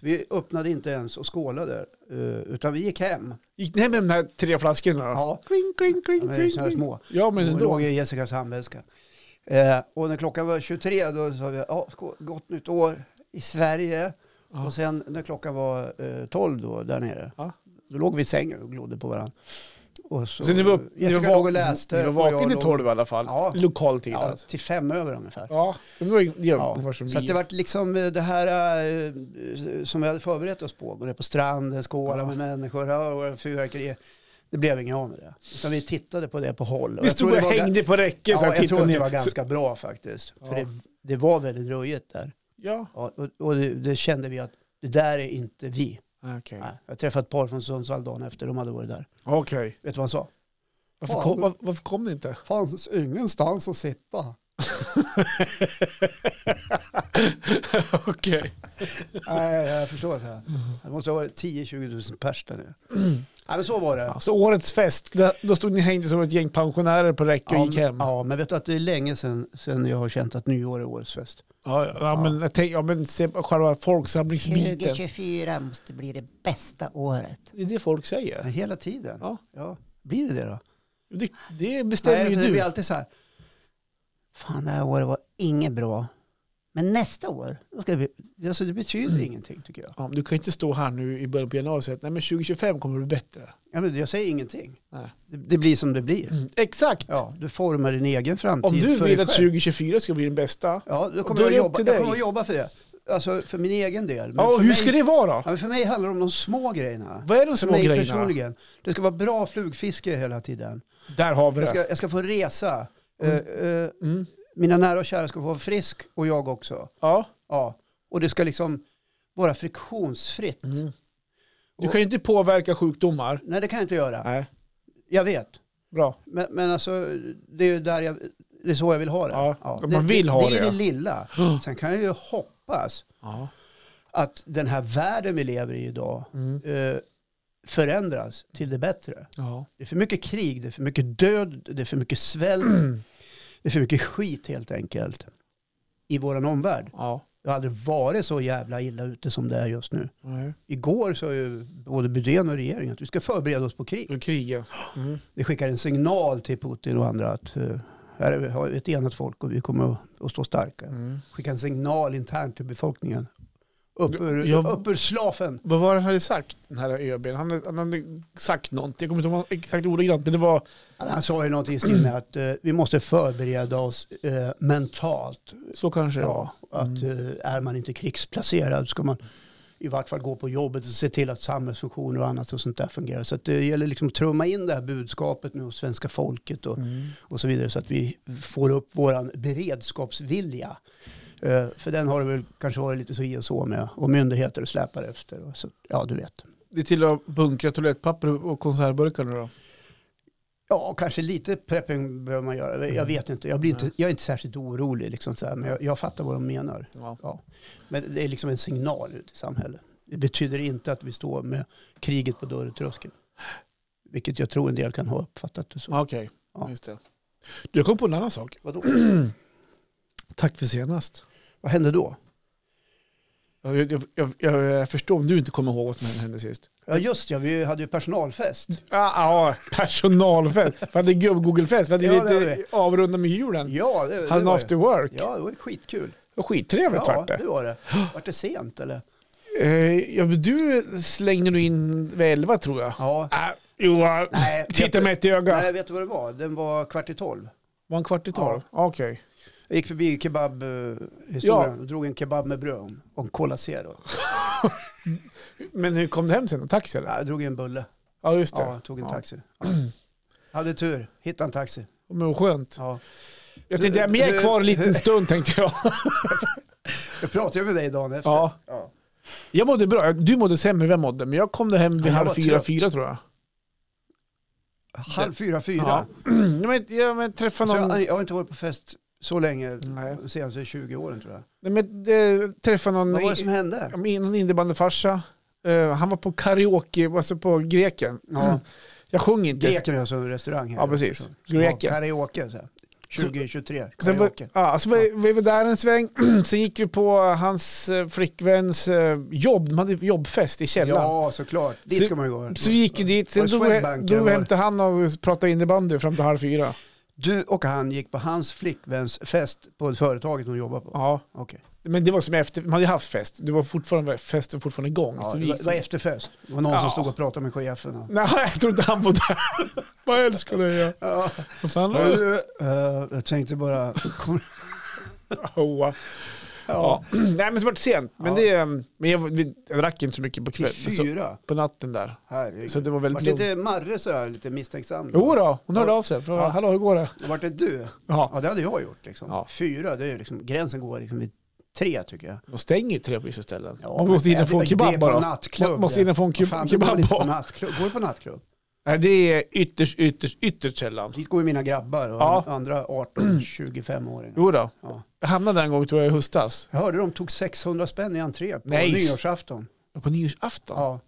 Så vi öppnade inte ens och skålade, eh, utan vi gick hem. Gick ni hem med de här tre flaskorna då? Ja, Kling, kling, de kling, är ju kling, såna här kling. små. Ja, men De ändå. låg i Jessicas handväska. Eh, och när klockan var 23 då sa vi, ja, skå- gott nytt år i Sverige. Ja. Och sen när klockan var eh, 12 då, där nere, Ja. då låg vi i sängen och glodde på varandra. Och så, Så ni var upp, ni Jessica var låg och vaken, läste. ni var och jag vaken till låg- tolv i alla fall. Ja. Lokal tid Ja, alltså. till fem över ungefär. Ja, men det var ju det Ja, var som så att vi. det var liksom eh, det här eh, som vi hade förberett oss på. Gå ner på stranden, skåla Ja. med människor, höra fyrverkeri. Det blev inget av med det. Utan vi tittade på det på håll. Ni jag stod tror det och var- hängde på räcket. så Ja, här, jag tror tittade att det ner. var Så- ganska bra faktiskt. För Ja. det, det var väldigt röjigt där. Ja, Ja, och och det, det kände vi att det där är inte vi. okej. Nej. Jag träffade ett par från Sundsvall dagen efter, de hade varit där. Okej. Vet du vad han sa? Varför Ja, kom- men- var- Varför kom ni inte? Fanns ingenstans att sitta. Okej. Nej, jag förstår. Så här. Det måste ha varit 10-20 000 pers där nu. Nej, men så var det. Ja, så årets fest, där, då stod ni hängde som ett gäng pensionärer på räcke och Ja, gick men- hem. Ja, Ja, men vet du att det är länge sedan, sedan jag har känt att nyår är årets fest. ja, men, jag tänk, ja, men se, på själva folksamlingsbiten. 2024 måste bli det bästa året. Det är det folk säger. Men hela tiden. Ja. Blir det det då? Det, det bestämmer Nej, ju det blir du. alltid så här. Fan, det här året var inget bra. Men nästa år, Då ska vi, alltså, det betyder Mm. ingenting tycker jag. Ja, men du kan ju inte stå här nu i början på januari och säga att nej, men 2025 kommer det bli bättre. Ja, men jag säger ingenting. Nej. Det, det blir som det blir. Exakt! Ja, du formar din egen framtid Om du för vill dig att själv. 2024 ska bli den bästa, Ja, då kommer då är det jag, upp jobba, till jag dig. kommer att jobba för det. Alltså för min egen del. Men ja, och för hur mig, ska det vara ja, då? men för mig handlar det om de små grejerna. Vad är de För små mig grejerna? personligen. Det ska vara bra flugfiske hela tiden. Där har vi Jag ska, det. jag ska få resa. Mm. Eh, eh, Mm. mina nära och kära ska få vara frisk och jag också. Ja. Ja. Och det ska liksom vara friktionsfritt. Mm. Du kan ju inte påverka sjukdomar. Nej, det kan jag inte göra. Nej. Jag vet. Bra. Men, men alltså, det är ju där jag, det är så jag vill ha det. Ja, det man vill ha Det är det, ju ja. det lilla. Sen kan jag ju hoppas Ja. att den här världen vi lever i idag Mm. eh, förändras till det bättre. ja. Det är för mycket krig, det är för mycket död, det är för mycket svält, det är för mycket skit helt enkelt i vår omvärld. ja. Det har aldrig varit så jävla illa ute som det är just nu. Nej. Igår sa ju både Budén och regeringen att vi ska förbereda oss på krig. Och kriget. Mm. Det skickar en signal till Putin och andra att eh, Här är vi har vi ett enat folk och vi kommer att- att stå starka. Mm. Skicka en signal internt till befolkningen. Upp ur, Jag- upp ur slafen. Vad var det han hade sagt, den här ÖBn? Han, hade- han hade sagt någonting, jag kommer inte ihåg exakt ordagrant, men det var... Han sa ju någonting i stil med att eh, vi måste förbereda oss eh, mentalt. Så kanske det var. Ja, att eh, är man inte krigsplacerad ska man i vart fall gå på jobbet och se till att samhällsfunktioner och annat och sånt där fungerar. Så att det gäller liksom att trumma in det här budskapet nu hos svenska folket och, Mm. och så vidare så att vi får upp våran beredskapsvilja. Eh, för den har det väl kanske varit lite så i och så med och myndigheter släpar efter. Och så, ja, du vet. Det är till att bunkra toalettpapper och konservburkar nu då. Ja, kanske lite prepping behöver man göra. Mm. Jag vet inte. Jag, blir inte, jag är inte särskilt orolig, liksom så här, men jag, jag fattar vad de menar. Ja. Men det är liksom en signal ut i samhället. Det betyder inte att vi står med kriget på dörrtröskeln. Vilket jag tror en del kan ha uppfattat det så. Ja, Okej, Ja. just det. Du, jag kom på en annan sak. Vadå? Tack för senast. Vad hände då? Jag, jag, jag, jag förstår om du inte kommer ihåg vad som hände sist. Ja just ja, vi hade ju personalfest. Ja, ja personalfest. Vi hade gubb-google-fest. Vi hade Ja, det hade vi. lite avrunda med julen. Ja, det, det Hade en var after work. ju, ja, det var ju skitkul. Det var Skittrevligt Ja, vart det. det var det. Vart det sent eller? Eh, Ja, men du slängde nog in vid elva tror jag. Ja. Ah, Johan, Nej, vet titta du- mig ett i ögat. Äh, Nej, vet du vad det var? Den var kvart i tolv. Var en kvart i tolv? Okej. Jag gick förbi kebabhistorien och drog en kebab med bröd om- och en Cola Zero. Men hur kom du hem sen? En Taxi eller? Ja, Jag drog en bulle. Ja, just det. Ja, tog en taxi. Ja. Hade tur, hittade en taxi. Men vad skönt. Ja. Jag tänkte, jag är med Hur- kvar en liten hur- stund tänkte jag. Jag pratade ju med dig dagen efter. Ja. Ja. Jag mådde bra. Du mådde sämre än jag mådde, men jag kom där hem vid Ja, jag halv var fyra, trött. fyra tror jag. Halv fyra, Ja. fyra. Jag, men, jag men, träffade Så någon... jag, jag har inte varit på fest så länge, Nej. de senaste 20 åren tror jag. Nej, men, eh, träffade någon, Vad var det som hände? Ja, men någon innebandyfarsa. Eh, han var på karaoke, alltså på greken. Ja. Jag sjöng inte. Greken är som en restaurang här. Ja, precis. Så- Greken. Ja, karaoke, så här. 2023, Sen var, karaoke. ja, så var, vi var där en sväng, sen gick vi på hans eh, flickväns eh, jobb, de hade jobbfest i källaren. Ja, såklart. Dit Så- ska man ju gå. Så vi gick ju dit, sen Var det drog vi Swedbank, drog vi hem eller? till han och pratade innebandy fram till halv fyra. Du och han gick på hans flickväns fest på företaget hon jobbar på? Ja. Okej. Men det var som efter, man hade ju haft fest, det var fortfarande, festen var fortfarande igång. Ja, så vi det gick var- det var efterfest. Det var någon Ja. som stod och pratade med chefen. Och... Nej, jag tror inte han var där. Vad älskar dig. Ja. Ja. Och sen, Eh, jag tänkte bara... oh, Ja. ja. Nej, men så var det sent. Men, Ja. det, eh, men jag, vi, jag drack inte så mycket på Till kvällen. Så, fyra. på natten där. Herregud. Så det var Vart väldigt lugnt. inte Marre så här lite misstänksam? Jo då, hon hörde Ja. av sig. Frågade, Ja. Hallå, hur går det? Vart det du? Ja. Ja, det hade jag gjort. Liksom. Ja. Fyra, det är ju liksom, gränsen går liksom vid tre tycker jag. De stänger ju tre på vissa ställen. Ja, Man måste men- hinna få en det- det är kebab på bara. nattklubb, Man måste det. hinna få en Vad fan, keb- du går, kebab inte på bara. nattklubb. går du på nattklubb? Nej, det är ytterst, ytterst, ytterst sällan. Dit går ju mina grabbar och Ja. andra 18-25-åringar. Jo då. Ja. Jag hamnade där en gång tror jag i höstas. Jag hörde de tog 600 spänn i entré på Nej. nyårsafton. På nyårsafton. Ja.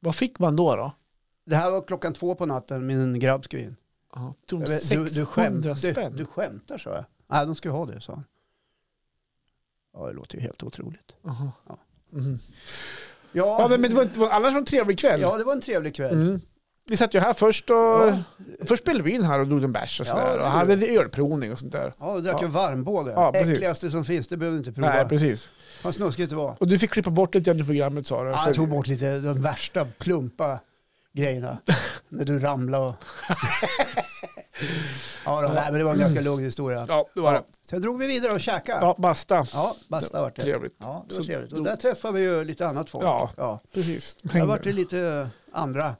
Vad fick man då? då? Det här var klockan två på natten, min grabb skrev in. Ja, tog Jag de vet, Du, du, 600 skämt, du, spänn. du skämtar, sa jag. Nej, de ska ju ha det, sa han. Ja, det låter ju helt otroligt. Jaha. Ja. Mhm. Ja, Ja, men det var, det var annars var det en trevlig kväll. ja, det var en trevlig kväll. Mm. Vi satt ju här först och... Ja. Först spelade vi in här och drog en bärs och Ja, sådär. det och gjorde hade vi. lite ölprovning och sånt där. Ja, och drack Ja. en varmbål. Ja, Ja, precis. Äckligaste som finns, det behöver du inte prova. Nej, precis. Vad snuskigt det var. Och du fick klippa bort lite grann i programmet sa du. Ja, För- jag tog bort lite de värsta plumpa grejerna. när du ramlade och... ja, då, nej, men det var en ganska lugn historia. Ja, det var det. Sen drog vi vidare och käkade. Ja, Ja, basta. basta vart det. Trevligt. Ja, det Så var trevligt. Och drog- där träffade vi ju lite annat folk. Ja. ja. Precis. Där vart det lite andra. Det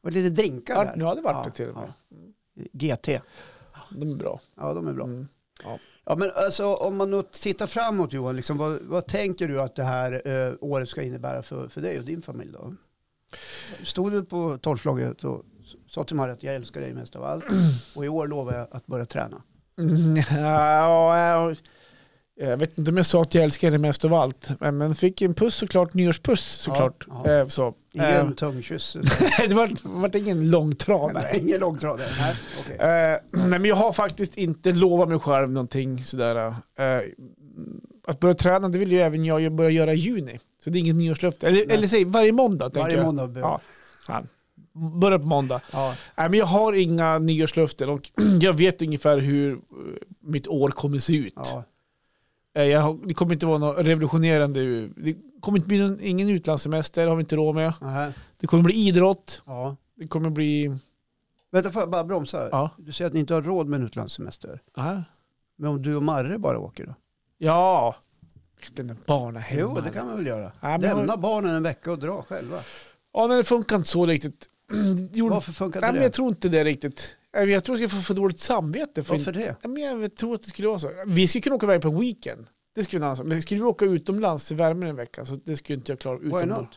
var lite drinkar Ja, där. ja, det var det till och ja. med. GT. De är bra. Ja, de är bra. Mm. Ja. Ja, men alltså, om man nu tittar framåt Johan, liksom, vad, vad tänker du att det här eh, året ska innebära för, för dig och din familj? Då? Stod du på tolvslaget och sa till Maria att jag älskar dig mest av allt och i år lovar jag att börja träna. Mm, ja, ja, jag vet inte om jag sa att jag älskar henne mest av allt, men men fick en puss såklart, nyårspuss såklart. Ja, ja. Eh, Så. Eh, Ingen tungkyss, det var, vart ingen långtradare. nej, ingen långtradare. Nej, okej. Eh, nej, men jag har faktiskt inte lovat mig själv någonting sådär. Eh, att börja träna, det vill ju även jag börja göra i juni. Så det är inget nyårslöfte. Eller, Nej. eller säg varje måndag tänker Varje måndag. jag. Ja. Ja, fan. börjar på måndag. Ja. Nej, men jag har inga nyårslöften och jag vet ungefär hur eh, mitt år kommer se ut. Ja. Eh, Jag, har- det kommer inte vara något revolutionerande. Det kommer inte bli någon, ingen utlandssemester, har vi inte råd med. Nej. Det kommer bli idrott. Ja. Det kommer bli... Vänta, får jag bara bromsa? Ja. Du säger att ni inte har råd med en utlandssemester. Aha. Men om du och Marre bara åker då? Ja. Den där barnahemman. Jo, det kan man väl göra. Ja, men jag- Lämna barnen en vecka och dra själva. Ja, nej, det funkar inte så riktigt. Det Gjorde... Varför funkar Nej, inte men det? jag tror inte det riktigt. Nej, men Jag tror att jag får för dåligt samvete. För Varför det? Ja, men jag tror att det skulle vara så. Vi skulle kunna åka iväg på en weekend. Det skulle vi kunna ha. Men skulle vi åka utomlands i värmen en vecka så det skulle inte jag klara Why utomlands. not?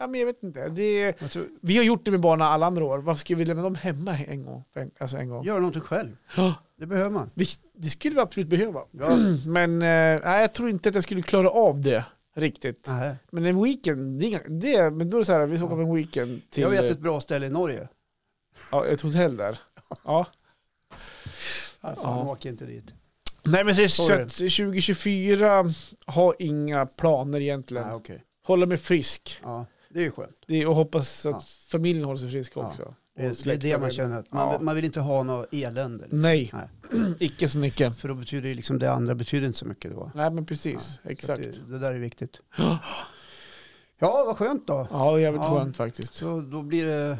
Ja, men jag vet inte. Det, Jag tror, vi har gjort det med barnen alla andra år. Varför skulle vi lämna dem hemma en gång? En, alltså en gång. gör någonting själv. Ja. Det behöver man. Vi, det skulle vi absolut behöva. Ja. Men eh, nej, jag tror inte att jag skulle klara av det riktigt. Nej. Men en weekend, det, är inga- det, men då är det så här, vi ska åka på en weekend till Jag vet eh, ett bra ställe i Norge. ja, ett hotell där. Ja. Nej, fan, Ja. åk inte dit. Nej men så, så Sorry. att 2024 har inga planer egentligen. Nej, okej. Hålla mig frisk Ja, det är ju skönt. det, är- och hoppas att Ja. familjen håller sig frisk Ja. också. Det Och är, det är det man släkten. känner. Att man, Ja. Mm. man vill inte ha något elände. liksom. Nej, Nej. icke så mycket. För då betyder ju liksom det andra betyder inte så mycket då. Nej men precis, Så att exakt. Det, det där är viktigt. Ja, vad skönt då. Ja, jävligt Ja. skönt faktiskt. Så då blir det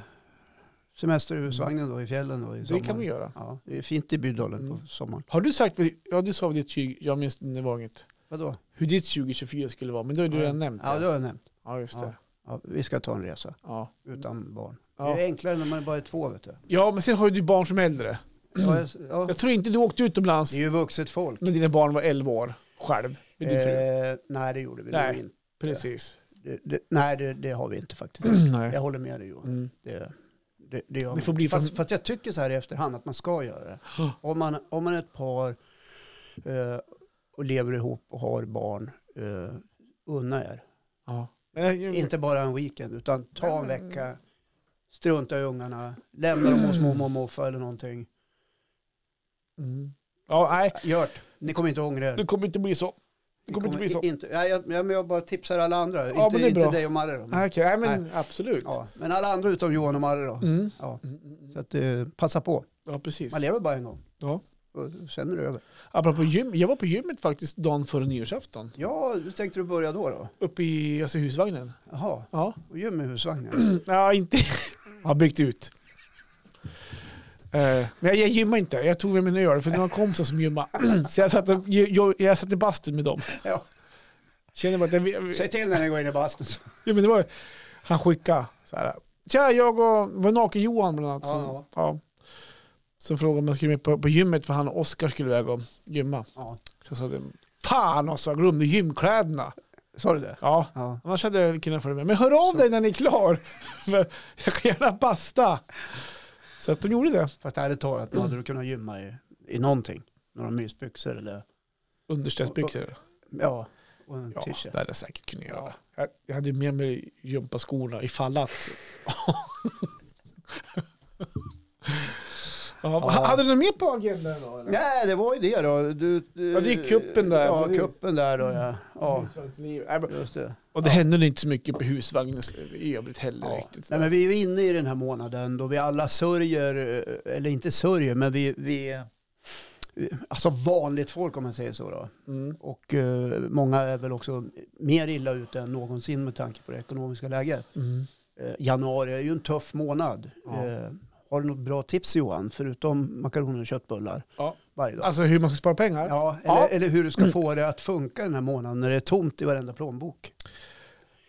semester i husvagnen då i fjällen då i Det sommar. kan vi göra. Mm. Ja, det är fint i Bydalen på sommaren. Har du sagt, ja du sa ditt 20, jag minns det var inget, Vadå? hur ditt 2024 skulle vara, men då har du redan nämnt Ja, det det. har jag nämnt. Ja, just det. Ja, vi ska ta en resa Ja. utan barn. Mm. Ja. Det är enklare när man bara är två vet du. ja, men sen har ju du barn som är äldre. Ja, jag- ja. Jag Mm. tror inte du åkte utomlands Det är ju vuxet folk. när dina barn var 11 år själv, med din fru. Eh, nej, det gjorde vi Nej. nog inte. Precis. Det, det, nej, det, det har vi inte faktiskt. Nej. Jag håller med dig Johan. Mm. Det, det, det, gör Det får man. bli för- fast, fast jag tycker så här i efterhand att man ska göra det. Ja. Om man, om man är ett par eh, och lever ihop och har barn, eh, unna er. Ja. Men eh, jag- Inte bara en weekend, utan ta en vecka, strunta i ungarna, lämna dem hos mormor och morfar eller någonting. Mm. Ja, nej. Gör det. Ni kommer inte ångra er. Det kommer inte bli så. Det Ni kommer inte bli så. Inte, nej, jag, jag, jag bara tipsar alla andra, Ja, men inte, det är inte bra. dig och Marre. då, men- Nej, okej. Nej, men absolut. Ja, men alla andra utom Johan och Marre då. Mm. Ja, Mm, mm, mm. så att, eh, passa på. Ja, precis. Man lever bara en gång. Ja. Och sen är det över. Apropå gym, jag var på gymmet faktiskt dagen före nyårsafton. Ja, hur tänkte du börja då? då? Uppe i alltså, husvagnen. Jaha, Ja. och gym i husvagnen. Ja, inte... Har byggt ut. Eh, Men jag, jag gymmar inte. Jag tog med min öl, för det var kompisar som gymmade. Så jag satt, och, jag, jag satt i bastun med dem. Ja. Känner bara att jag, Säg till när ni går in i bastun. Ja, men det var, han skickade så här. Tja, jag och var Naken-Johan bland annat. Ja, som, ja. ja. Som frågade om jag skulle med på, på gymmet för han och Oskar skulle iväg och gymma. Ja. Så jag sa, det, fan också, jag glömde gymkläderna. Sa du det? Ja, Ja. annars hade jag kunnat följa med. Men hör av dig när ni är klar. För jag kan gärna basta. Så att de gjorde det. Fast ärligt talat, man hade du kunnat gymma i, i någonting. Några mysbyxor eller Underställsbyxor. ja, och en Ja, t-shirt. det hade jag säkert kunnat göra. Jag, jag hade med mig gympaskorna ifall att. ja, Ja. Hade du något mer på agendan då? Eller? Nej, det var ju det då. Du, du, Ja, det är kuppen där, Mm. Ja, precis. kuppen där då ja. ja. Husvagnsliv. Nej, men- Just det. Och det hände inte så mycket på husvagnens i övrigt heller Ja. riktigt. Nej, men vi är ju inne i den här månaden då vi alla sörjer, eh, eller inte sörjer, men vi, vi alltså vanligt folk om man säger så då. Mm. Och eh, många är väl också mer illa ute än någonsin med tanke på det ekonomiska läget. Mm. Eh, januari är ju en tuff månad. Ja. Eh, har du något bra tips Johan, förutom makaroner och köttbullar Ja. varje dag? Alltså hur man ska spara pengar? Ja, eller, Ja. eller hur du ska få det att funka den här månaden när det är tomt i varenda plånbok.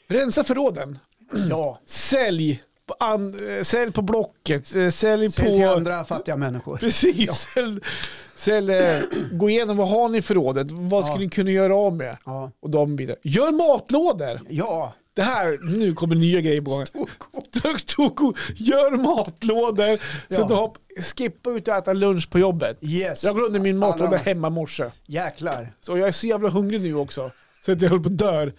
Rensa förråden. Ja, Sälj. På an, eh, sälj på Blocket. Eh, Sälj sälj på... till andra fattiga människor. Precis. Sälj, sälj, eh, gå igenom vad har ni i förrådet. Vad Ja. skulle ni kunna göra av med? Ja, Och de bitar. Gör matlådor! ja. Det här, nu kommer nya grejer på gång. Storkok. Gör matlådor så Ja. att du hopp, skippa ut och äta lunch på jobbet. yes. Jag glömde min Alla matlåda de- hemma i morse. Jäklar. Så jag är så jävla hungrig nu också. Så att jag höll på att dör.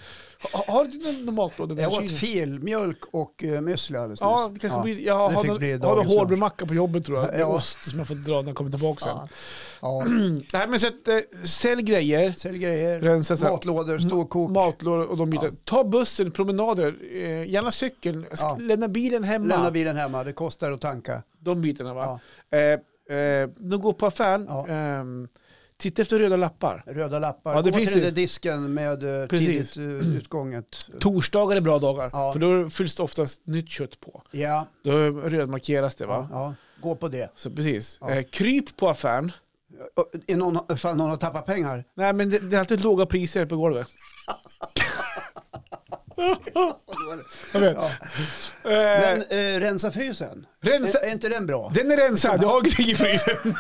Har, har du någon- någon matlåda? i den Jag här åt kylen? fil, mjölk och uh, müsli alldeles Ja, det kanske blir, jag det har fick någon, bli har någon dagens hårdbrödmacka på jobbet tror jag. Med Ja. ost som jag får dra när jag kommer tillbaka sen. Ja. Ja. Nej men så att, eh, sälj grejer, Sälj grejer, rensa så här, matlådor, storkok, matlådor och de bitarna. Ja. Ta bussen, promenader, eh, gärna cykeln, sk- Ja. lämna bilen hemma. lämna bilen hemma, det kostar att tanka. De bitarna va. Eh, eh, de går på affären, Ja. ehm, titta efter röda lappar. Röda lappar, Ja, det gå finns till ju. den där disken med eh, Precis. tidigt eh, utgånget. Torsdagar är bra dagar, Ja. för då fylls det oftast nytt kött på. Ja, Då rödmarkeras det va. ja, ja, gå på det. Så precis. Ja. Eh, kryp på affären. Och, Är någon, ifall någon har tappat pengar, Nej men det, det är alltid låga priser på golvet. Jag vet. Ja. Eh, Men eh, rensa frysen, rensa, är, är inte den bra? den är rensad, jag har ingenting i frysen.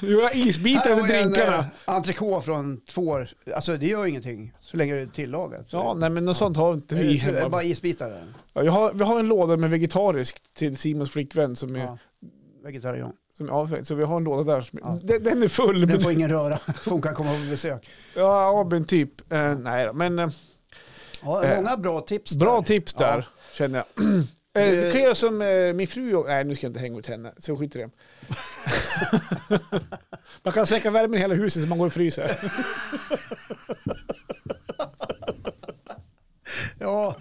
Du har isbitar Här efter har vi en, drinkarna. eh, Entrecote från två år, alltså det gör ingenting så länge det är tillagat. Eh, Ja, nej men något sånt har inte vi Det är hemma. Bara isbitar där. Ja, jag har, vi har en låda med vegetariskt till Simons flickvän som är... Ja. Vegetarian. Som, ja, så vi har en låda där. Som, Ja. den, den är full. Men, Den får ingen röra, för hon kan komma på besök. ja, ja, men typ. Eh, nej då, men eh, Ja, Eh, många bra tips bra där. tips Ja. där, känner jag. Eh, Du kan göra som eh, min fru och, Nej, nu ska jag inte hänga ut henne, så skit i det. man kan sänka värmen i hela huset så man går och fryser. Ja,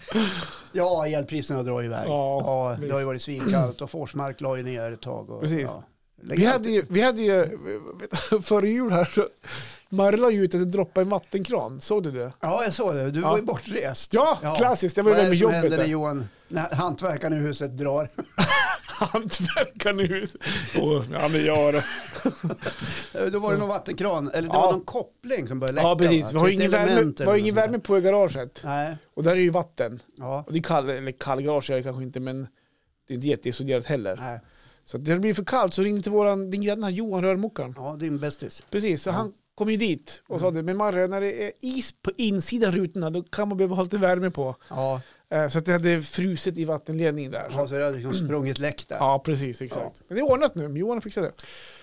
ja elpriserna drar iväg. Ja, Ja, det har ju visst. varit svinkallt och Forsmark la ju ner ett tag. Och, Precis. Ja. Lägg Vi allt- hade ju, vi hade ju eh, vet, före jul här så Marre la ju ut att det droppade i en vattenkran, såg du det? Ja, jag såg det. Du Ja. var ju bortrest. Ja, klassiskt, jag var ju Vad är med det som jobbet händer när där. Johan, när hantverkaren i huset drar? Hantverkaren i huset. Åh, Ja men gör det. Då var det någon vattenkran, eller det Ja. var någon koppling som började läcka. Ja precis, va? vi har ju Ett ingen värme, element vi eller har ju ingen något värme på i garaget. sånt. Nej, Och där är ju vatten. ja. Och det är kall, eller kallgarage är det kanske inte men det är inte jätteisolerat heller. Nej. Så att det blir för kallt så ringde till våran, din granne Johan Rörmokaren. ja, din bästis. Precis, så han kom ju dit och sa Mm. det, men Marre när det är is på insidan rutorna då kan man behöva ha lite värme på. Ja, Eh, Så att det hade frusit i vattenledningen där. ja, så det hade liksom sprungit läck där. Ja, precis. Exakt. Ja. Men det är ordnat nu. Johan fixade det.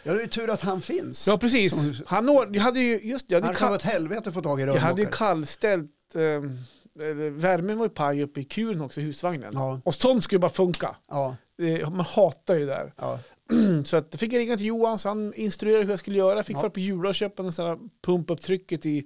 Ja, det är ju tur att han finns. Ja, precis. Som- Han ord... jag hade ju, just det, jag han hade, kan vara kall... ett helvete att få tag i jag hade ju rörmokare. kallställt... Eh, eller värmen var ju paj uppe i kulen också, i husvagnen. Ja. Och sånt skulle bara funka. Ja, Det- Man hatar ju det där. Mm, ja. Så att, jag fick ringa till Johan, så han instruerade hur jag skulle göra. Jag fick Ja. fara på Jula och köpa något sånt här pumpupptrycket i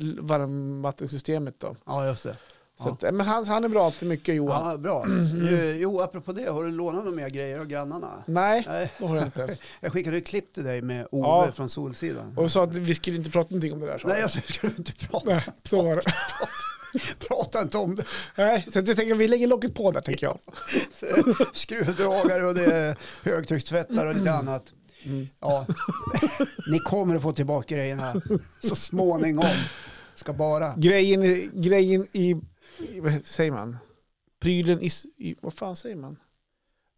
l- varmvattensystemet då. ja, just det. Så Ja. att, eh, men han, han är bra till mycket, Johan. Ja, bra. Mm. Eh, Jo, apropå det, har du lånat några mer grejer av grannarna? Nej, Nej, det har jag inte. jag skickade ett klipp till dig med Ove Ja. från Solsidan. Och sa att vi skulle inte prata någonting om det där. sa Nej, han. jag sa, ska du inte prata, Nej, så var det. prata inte om det. Nej, så att jag tänker vi lägger locket på där tänker jag. Skruvdragare och det är högtryckstvättar och lite annat. Mm. Ja. Ni kommer att få tillbaka grejerna så småningom. Ska bara. Grejen, i- grejen i, i, vad säger man? Prylen i, s- i vad fan säger man?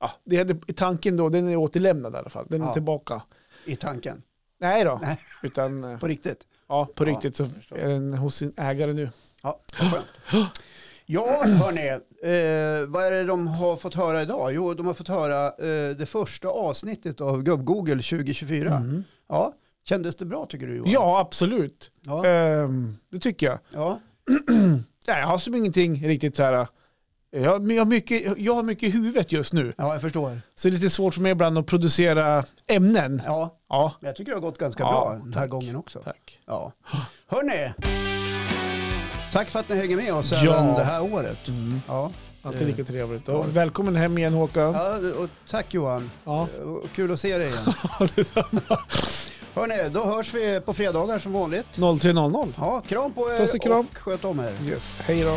Ja, det hade i tanken då, den är återlämnad i alla fall. Den är Ja. tillbaka. I tanken. Nej då, Nej. utan eh, På riktigt. ja, på Ja, riktigt så är den hos sin ägare nu. Ja, vad skönt. Ja, hörni. Eh, vad är det de har fått höra idag? Jo, de har fått höra eh, det första avsnittet av Gubb-Google 2024. Ja, kändes det bra tycker du Johan? Mm. Ja, absolut. Ja. Ehm, det tycker jag. ja. Nej, jag har som ingenting riktigt så här. eh, Jag, men jag, har mycket, jag har mycket i huvudet just nu. ja, jag förstår. Så det är lite svårt för mig ibland att producera ämnen. Ja, Ja, jag tycker det har gått ganska Ja, bra den här gången också. tack. Ja. Hörni! Tack för att ni hänger med oss Ja. Mm. även det här året. Ja. Alltid lika trevligt. Eh. ja. Och välkommen hem igen Håkan. Ja, och tack Johan. Ja. Och Kul att se dig igen. Hörni, då hörs vi på fredagar som vanligt. 03.00. Ja, kram på er Puss och kram. och sköt om er. Yes, hej då.